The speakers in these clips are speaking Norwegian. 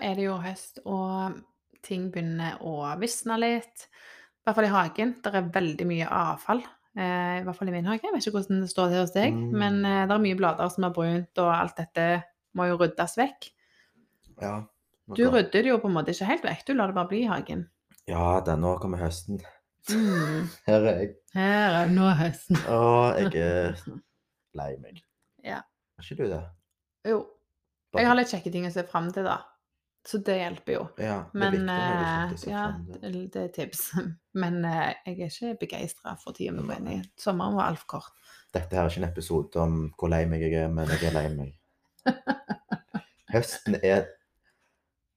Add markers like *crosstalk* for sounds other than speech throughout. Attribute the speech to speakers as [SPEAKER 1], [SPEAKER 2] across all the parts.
[SPEAKER 1] er det jo høst, og ting begynner å visne litt. I hvert fall i hagen. Der er veldig mye avfall. Eh, I hvert fall i min hage. Jeg vet ikke hvordan det står til hos deg, men
[SPEAKER 2] Mm.
[SPEAKER 1] eh, det er mye blader som er brunt, og alt dette må jo ryddes vekk.
[SPEAKER 2] Ja, nå
[SPEAKER 1] Du
[SPEAKER 2] kom-
[SPEAKER 1] rydder det jo på en måte ikke helt vekk, du lar det bare bli i hagen.
[SPEAKER 2] ja da, nå kommer høsten.
[SPEAKER 1] Mm.
[SPEAKER 2] Her er jeg.
[SPEAKER 1] Her er nå høsten.
[SPEAKER 2] Å, jeg er lei meg.
[SPEAKER 1] Ja.
[SPEAKER 2] Er ikke du det?
[SPEAKER 1] *laughs* Jo. Jeg har litt kjekke ting å se fram til, da. Så det hjelper jo.
[SPEAKER 2] Ja, det er sånn.
[SPEAKER 1] Men eh,
[SPEAKER 2] viktig å ha litt sånt å se
[SPEAKER 1] ja,
[SPEAKER 2] frem til.
[SPEAKER 1] det det er tips. *laughs* Men eh, jeg er ikke begeistra for tida vi går inn i.
[SPEAKER 2] Nei.
[SPEAKER 1] Sommeren var altfor kort.
[SPEAKER 2] Dette her er ikke en episode om hvor lei meg jeg er, men jeg er lei meg.
[SPEAKER 1] *laughs*
[SPEAKER 2] Høsten er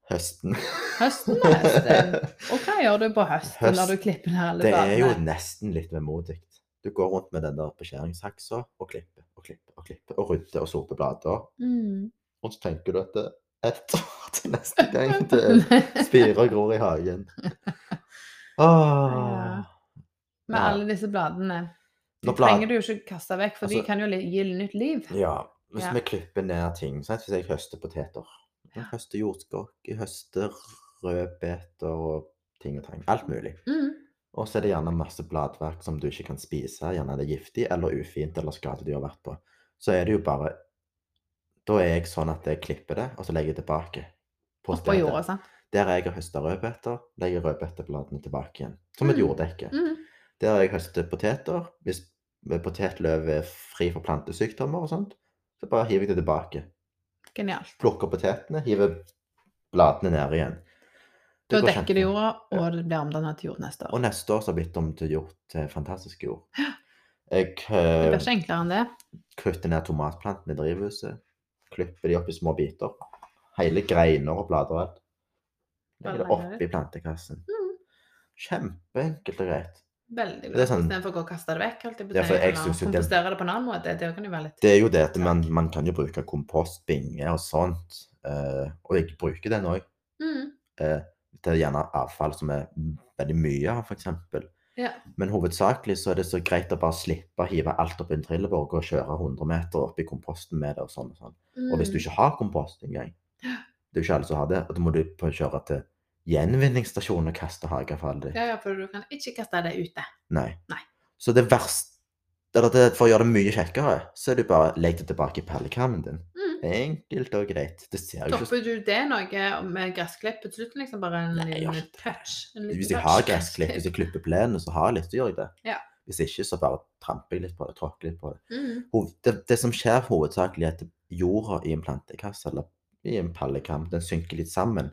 [SPEAKER 2] Høsten.
[SPEAKER 1] Høsten
[SPEAKER 2] *laughs*
[SPEAKER 1] er høsten. Og hva gjør du på høsten når du
[SPEAKER 2] Høst-
[SPEAKER 1] klipper ned alle
[SPEAKER 2] Det er jo
[SPEAKER 1] bladene?
[SPEAKER 2] nesten litt vemodig. Du går rundt med den der beskjæringssaksa og klipper og klipper og klipper og rydder og soper blader.
[SPEAKER 1] Mm.
[SPEAKER 2] Og så tenker du at det er ett år til neste gang *laughs*
[SPEAKER 1] *laughs*
[SPEAKER 2] det spirer og gror i hagen. Ah.
[SPEAKER 1] Ja.
[SPEAKER 2] Åh.
[SPEAKER 1] Med alle disse bladene. De
[SPEAKER 2] Når blad-
[SPEAKER 1] trenger du jo ikke kaste vekk, for de
[SPEAKER 2] Altså-
[SPEAKER 1] kan jo li- gi nytt liv.
[SPEAKER 2] Ja. Hvis
[SPEAKER 1] Ja.
[SPEAKER 2] vi klipper ned ting sant? Hvis jeg høster poteter, jeg høster jordskokk, jeg høster rødbeter og ting og tang. Alt mulig.
[SPEAKER 1] Mm.
[SPEAKER 2] Og så er det gjerne masse bladverk som du ikke kan spise, gjerne er det giftig eller ufint eller skadedyr har vært på. Så er det jo bare Da er jeg sånn at jeg klipper det, og så legger jeg tilbake. På
[SPEAKER 1] Oppå
[SPEAKER 2] stedet.
[SPEAKER 1] jorda, sant.
[SPEAKER 2] Der jeg har høsta rødbeter, legger rødbetebladene tilbake igjen. Som et
[SPEAKER 1] Mm.
[SPEAKER 2] jorddekke.
[SPEAKER 1] Mm.
[SPEAKER 2] Der jeg høster poteter, hvis potetløv er fri for plantesykdommer og sånt, så bare hiver jeg det tilbake.
[SPEAKER 1] Genialt.
[SPEAKER 2] Plukker potetene, hiver bladene ned igjen.
[SPEAKER 1] Da
[SPEAKER 2] går
[SPEAKER 1] dekker du
[SPEAKER 2] kjempe-
[SPEAKER 1] jorda, og det blir omdannet til jord neste
[SPEAKER 2] og
[SPEAKER 1] år.
[SPEAKER 2] neste år så har det blitt om til gjort til fantastisk jord. Jeg
[SPEAKER 1] Det
[SPEAKER 2] eh,
[SPEAKER 1] blir ikke enklere enn det.
[SPEAKER 2] kutter ned tomatplantene i drivhuset, klipper de opp i små biter. Hele greiner og blader og alt. Legger det
[SPEAKER 1] Bare legger det.
[SPEAKER 2] oppi plantekassen.
[SPEAKER 1] Mm.
[SPEAKER 2] Kjempeenkelt og greit.
[SPEAKER 1] Veldig
[SPEAKER 2] Det
[SPEAKER 1] bra.
[SPEAKER 2] er sånn-
[SPEAKER 1] Istedenfor å gå og kaste det vekk. Alltid,
[SPEAKER 2] Ja, for jeg synes jo det-
[SPEAKER 1] Kompostere det på en annen måte. Det kan jo være litt
[SPEAKER 2] Det er jo det at man, man kan jo bruke kompost, binge og sånt. eh, og jeg bruker den òg.
[SPEAKER 1] mm.
[SPEAKER 2] Det er gjerne avfall som er veldig mye av, f.eks.
[SPEAKER 1] Ja.
[SPEAKER 2] Men hovedsakelig så er det så greit å bare slippe å hive alt opp i en trillebår og kjøre 100 meter opp i komposten med det. og sånn og sånn. Og hvis du
[SPEAKER 1] Mm.
[SPEAKER 2] ikke har kompost engang, det er jo ikke alle som har det, og da må du på- kjøre til gjenvinningsstasjonen og kaste hageavfallet ditt.
[SPEAKER 1] Ja, ja, for du kan ikke kaste det ute.
[SPEAKER 2] Nei.
[SPEAKER 1] Nei.
[SPEAKER 2] Så det verste eller det, For å gjøre det mye kjekkere, så er det bare legg det tilbake i pallekarmen din.
[SPEAKER 1] Mm.
[SPEAKER 2] Enkelt og greit. Det ser jo ikke
[SPEAKER 1] Topper du det noe med gressklipp på slutten? Liksom bare en
[SPEAKER 2] Nei, jeg
[SPEAKER 1] liten
[SPEAKER 2] har ikke-
[SPEAKER 1] touch? En liten
[SPEAKER 2] Hvis
[SPEAKER 1] touch
[SPEAKER 2] jeg har gressklipp, hvis jeg klipper plenene, så har jeg lyst til å gjøre det.
[SPEAKER 1] Ja.
[SPEAKER 2] Hvis ikke, så bare tramper jeg litt på det, tråkker litt på det.
[SPEAKER 1] Mm.
[SPEAKER 2] Hoved, det. Det som skjer hovedsakelig, er at jorda i en plantekasse eller i en pallekam, den synker litt sammen.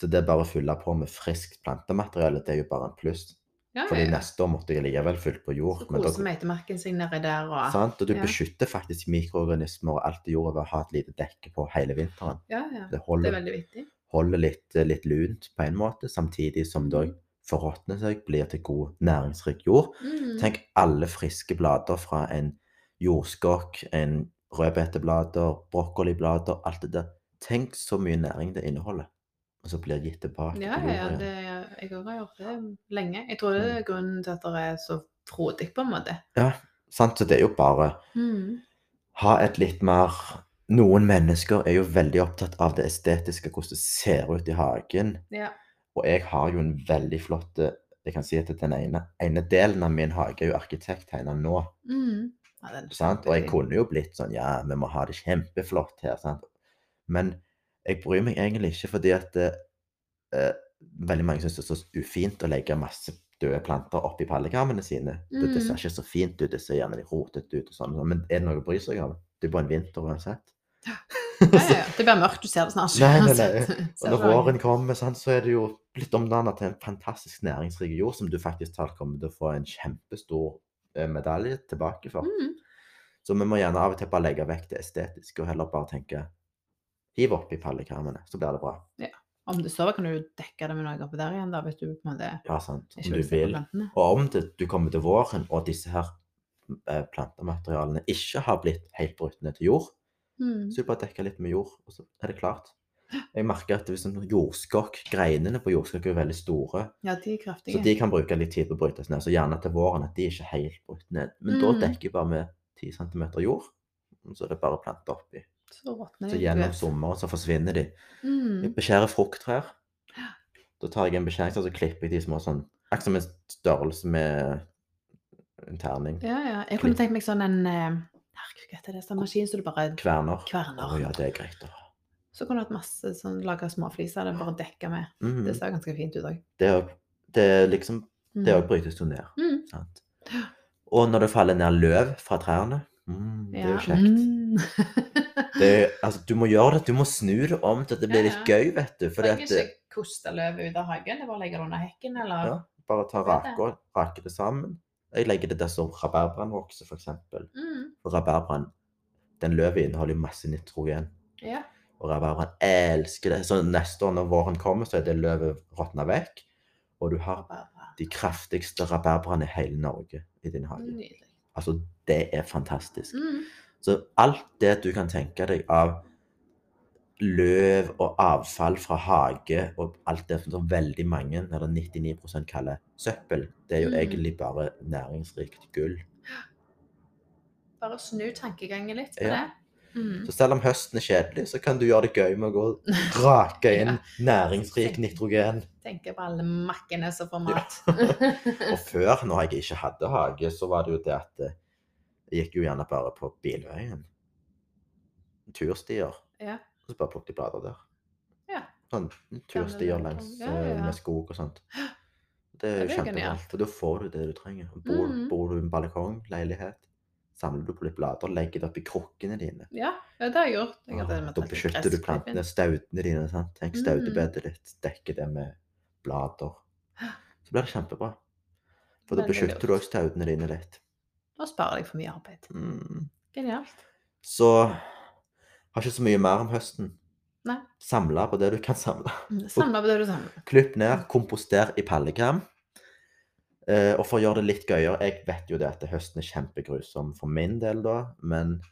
[SPEAKER 2] Så det bare å fylle på med friskt plantemateriale, det er jo bare en pluss.
[SPEAKER 1] Ja,
[SPEAKER 2] Fordi
[SPEAKER 1] ja.
[SPEAKER 2] neste år måtte jeg likevel fylt på jord.
[SPEAKER 1] Så
[SPEAKER 2] men da-
[SPEAKER 1] koser meitemarken seg nedi der og
[SPEAKER 2] sant? Og du
[SPEAKER 1] Ja.
[SPEAKER 2] beskytter faktisk mikroorganismer og alt i jorda ved å ha et lite dekke på hele vinteren.
[SPEAKER 1] Ja, ja.
[SPEAKER 2] Det
[SPEAKER 1] Det er
[SPEAKER 2] holder,
[SPEAKER 1] veldig viktig.
[SPEAKER 2] holder litt, eh, litt lunt på en måte, samtidig som det også forråtner seg, blir til god næringsrik jord.
[SPEAKER 1] Mm.
[SPEAKER 2] Tenk alle friske blader fra en jordskokk, en rødbeteblader, brokkoliblader, alt det der. Tenk så mye næring det inneholder, og så blir det gitt tilbake
[SPEAKER 1] Ja,
[SPEAKER 2] til
[SPEAKER 1] ja, ja,
[SPEAKER 2] jorda
[SPEAKER 1] det,
[SPEAKER 2] igjen.
[SPEAKER 1] jeg også har gjort det lenge. Jeg tror det er
[SPEAKER 2] Mm.
[SPEAKER 1] grunnen til at det er så frodig, på en måte.
[SPEAKER 2] Sant? Så det er jo bare
[SPEAKER 1] Mm.
[SPEAKER 2] ha et litt mer Noen mennesker er jo veldig opptatt av det estetiske, hvordan det ser ut i hagen.
[SPEAKER 1] Ja.
[SPEAKER 2] Og jeg har jo en veldig flott eh, Jeg kan si at den ene, ene delen av min hage er jo arkitekttegna nå.
[SPEAKER 1] Mm. Ja, den er
[SPEAKER 2] Sant? Og jeg
[SPEAKER 1] kjempefin.
[SPEAKER 2] kunne jo blitt sånn Ja, vi må ha det kjempeflott her. Sant? Men jeg bryr meg egentlig ikke, fordi at eh, eh, veldig mange syns det er så ufint å legge masse døde planter oppi pallekarmene sine. Det, det
[SPEAKER 1] Mm.
[SPEAKER 2] ser ikke så fint ut, det ser gjerne litt rotete ut og sånn. Men er det noe å bry seg om? Det er bare en vinter uansett.
[SPEAKER 1] Ja, ja, ja. Det blir mørkt, du ser det snart.
[SPEAKER 2] Nei, nei, nei.
[SPEAKER 1] Ser
[SPEAKER 2] Og
[SPEAKER 1] det
[SPEAKER 2] når
[SPEAKER 1] langt.
[SPEAKER 2] våren kommer, sant, så er det jo blitt omdannet til en fantastisk næringsrik jord som du faktisk talt kommer til å få en kjempestor eh, medalje tilbake for.
[SPEAKER 1] Mm.
[SPEAKER 2] Så vi må gjerne av og til bare legge vekk det estetiske og heller bare tenke Hiv oppi pallekarmene, så blir det bra.
[SPEAKER 1] Om det sover, kan du jo dekke det med noe oppå der igjen, da, hvis du på en måte
[SPEAKER 2] Ja, sant.
[SPEAKER 1] ikke
[SPEAKER 2] Om du
[SPEAKER 1] vil se på
[SPEAKER 2] vil.
[SPEAKER 1] plantene.
[SPEAKER 2] Og om det, du kommer til våren og disse her eh, plantematerialene ikke har blitt helt brutt ned til jord,
[SPEAKER 1] Mm.
[SPEAKER 2] Så du bare dekker litt med jord, og så er det klart. Jeg merker at hvis en jordskokk, greinene på jordskokk er veldig store,
[SPEAKER 1] Ja, de er
[SPEAKER 2] så
[SPEAKER 1] kraftige.
[SPEAKER 2] de kan bruke litt tid på å brytes ned. Så gjerne til våren at de ikke er helt brutt ned. Men da
[SPEAKER 1] Mm.
[SPEAKER 2] dekker jeg bare med 10 cm jord, og så er det bare å plante oppi.
[SPEAKER 1] Så råtner
[SPEAKER 2] Så
[SPEAKER 1] de
[SPEAKER 2] gjennom
[SPEAKER 1] ut.
[SPEAKER 2] sommeren så forsvinner de. Jeg
[SPEAKER 1] Mm.
[SPEAKER 2] beskjærer
[SPEAKER 1] *gasps*
[SPEAKER 2] frukttrær. Da tar jeg en beskjæring, og så klipper jeg de små sånn Akkurat som en størrelse med en terning.
[SPEAKER 1] Ja, ja. Jeg kunne tenkt meg sånn en eh, Herregud, hva heter det? Sånn maskin som du bare
[SPEAKER 2] Kverner.
[SPEAKER 1] kverner.
[SPEAKER 2] Å ja, det er greit å ha.
[SPEAKER 1] Så kunne du hatt masse sånn laga småfliser. Det er bare dekka med.
[SPEAKER 2] Mhm.
[SPEAKER 1] Det ser ganske fint ut òg.
[SPEAKER 2] Det er jo- det er liksom Det òg brytes jo ned.
[SPEAKER 1] Mm. *gasps*
[SPEAKER 2] Sant? Og når det faller ned løv fra trærne mm, Det er jo kjekt.
[SPEAKER 1] Mm.
[SPEAKER 2] Det er, altså, du må gjøre det, du må snu det om til at det blir
[SPEAKER 1] Ja,
[SPEAKER 2] litt
[SPEAKER 1] ja.
[SPEAKER 2] gøy, vet du. Fordi at eh, det,
[SPEAKER 1] ikke koste løvet ut av hagen. Det bare legger det under hekken, eller
[SPEAKER 2] Ja. Bare ta
[SPEAKER 1] vet det.
[SPEAKER 2] rake og rake det sammen. Jeg legger det der som rabarbraen vokser, f.eks.
[SPEAKER 1] Mm.
[SPEAKER 2] For rabarbraen, den løvet inneholder jo masse nitrogen.
[SPEAKER 1] ja.
[SPEAKER 2] Og rabarbraen elsker det. Så neste år når våren kommer, så er det løvet råtna vekk. Og du har
[SPEAKER 1] Rabarber.
[SPEAKER 2] de kraftigste rabarbraene i hele Norge i din hage.
[SPEAKER 1] Nydelig.
[SPEAKER 2] Altså, det er fantastisk.
[SPEAKER 1] Mm.
[SPEAKER 2] Så alt det du kan tenke deg av løv og avfall fra hage og alt det som veldig mange, eller 99 kaller søppel, det er jo
[SPEAKER 1] Mm.
[SPEAKER 2] egentlig bare næringsrikt gull.
[SPEAKER 1] Bare snu tankegangen litt på
[SPEAKER 2] Ja.
[SPEAKER 1] det. Mm.
[SPEAKER 2] Så selv om høsten er kjedelig, så kan du gjøre det gøy med å gå og rake inn næringsrik nitrogen.
[SPEAKER 1] Tenker på alle makkene som får
[SPEAKER 2] *laughs*
[SPEAKER 1] mat.
[SPEAKER 2] Og før, når jeg ikke hadde hage, så var det jo det at eh, jeg gikk jo gjerne bare på bilveien. Turstier.
[SPEAKER 1] Ja.
[SPEAKER 2] Og så bare plukket jeg blader der.
[SPEAKER 1] Ja.
[SPEAKER 2] Sånn turstier
[SPEAKER 1] Gamle
[SPEAKER 2] langs
[SPEAKER 1] løvtall. Ja, ja,
[SPEAKER 2] eh,
[SPEAKER 1] ja.
[SPEAKER 2] med skog og
[SPEAKER 1] *gasps*
[SPEAKER 2] sånt. Det er
[SPEAKER 1] Det
[SPEAKER 2] jo
[SPEAKER 1] blir
[SPEAKER 2] kjempebra,
[SPEAKER 1] genialt.
[SPEAKER 2] for da får du det du trenger. Og Bor,
[SPEAKER 1] Mhm.
[SPEAKER 2] bor du i en balkong, leilighet, samler du på litt blader, legger det oppi krukkene dine.
[SPEAKER 1] ja, ja, det har jeg gjort. Jeg har til og med
[SPEAKER 2] Ah, Da
[SPEAKER 1] tatt litt
[SPEAKER 2] beskytter du
[SPEAKER 1] gress på
[SPEAKER 2] plantene,
[SPEAKER 1] vinden.
[SPEAKER 2] stautene dine. sant? Tenk
[SPEAKER 1] Mhm.
[SPEAKER 2] stautebedet ditt, dekker det med blader.
[SPEAKER 1] *gasps*
[SPEAKER 2] Så blir det kjempebra. For da
[SPEAKER 1] Veldig
[SPEAKER 2] beskytter du
[SPEAKER 1] lurt.
[SPEAKER 2] også stautene dine litt.
[SPEAKER 1] Nå sparer jeg for mye arbeid.
[SPEAKER 2] Mm.
[SPEAKER 1] Genialt.
[SPEAKER 2] Så har ikke så mye mer om høsten.
[SPEAKER 1] Nei.
[SPEAKER 2] Samle på det du kan samle. *laughs*
[SPEAKER 1] Samla på Mm, det du samler.
[SPEAKER 2] Klipp
[SPEAKER 1] Mm.
[SPEAKER 2] ned, komposter i pallekam. Eh, og for å gjøre det litt gøyere Jeg vet jo det at høsten er kjempegrusom for min del, da. Men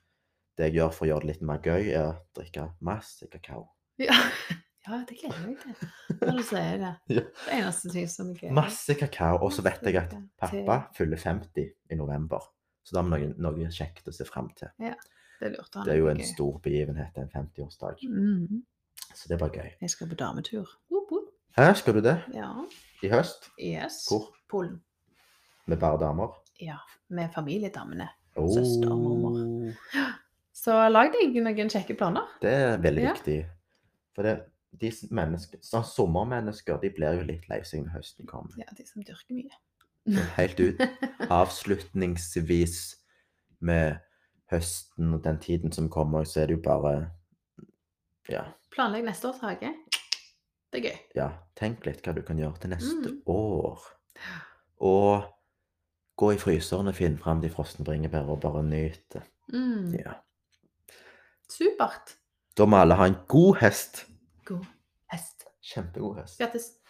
[SPEAKER 2] det jeg gjør for å gjøre det litt mer gøy, er å drikke masse kakao.
[SPEAKER 1] Ja. *laughs* ja, det gleder jeg meg til. Når du sier det.
[SPEAKER 2] *laughs* Ja.
[SPEAKER 1] Det eneste ting som jeg gleder meg
[SPEAKER 2] Masse kakao. Og så vet jeg at
[SPEAKER 1] Masse
[SPEAKER 2] pappa fyller 50 i november. Så da har vi noe, noe kjekt å se fram til.
[SPEAKER 1] Ah, Det er lurt å ha
[SPEAKER 2] Det er jo en
[SPEAKER 1] noe gøy.
[SPEAKER 2] stor begivenhet, en 50-årsdag.
[SPEAKER 1] Mm.
[SPEAKER 2] Så det er bare gøy.
[SPEAKER 1] Jeg skal på dametur. Whoop, whoop.
[SPEAKER 2] Hæ, skal du det?
[SPEAKER 1] Ja.
[SPEAKER 2] I høst?
[SPEAKER 1] Yes.
[SPEAKER 2] Hvor?
[SPEAKER 1] Polen.
[SPEAKER 2] Med bare damer?
[SPEAKER 1] Ja. Med familiedamene.
[SPEAKER 2] Oh,
[SPEAKER 1] Søster og mormor. Så lag deg noen kjekke planer.
[SPEAKER 2] Det er veldig
[SPEAKER 1] Ja.
[SPEAKER 2] viktig. For det, de s- menneske- sånn sommermennesker de blir jo litt lei seg når høsten kommer.
[SPEAKER 1] Ja, de som dyrker mye. *laughs*
[SPEAKER 2] Helt ut. Avslutningsvis med høsten og den tiden som kommer, så er det jo bare Ja.
[SPEAKER 1] Planlegg neste års hage. Det er gøy.
[SPEAKER 2] ja tenk litt hva du kan gjøre til neste
[SPEAKER 1] Mm.
[SPEAKER 2] år. Og gå i fryseren og finn fram de frosne bringebærene og bare nyte.
[SPEAKER 1] Mm.
[SPEAKER 2] Ja.
[SPEAKER 1] Supert.
[SPEAKER 2] Da må alle ha en god hest.
[SPEAKER 1] God hest.
[SPEAKER 2] Kjempegod hest.
[SPEAKER 1] Grattis.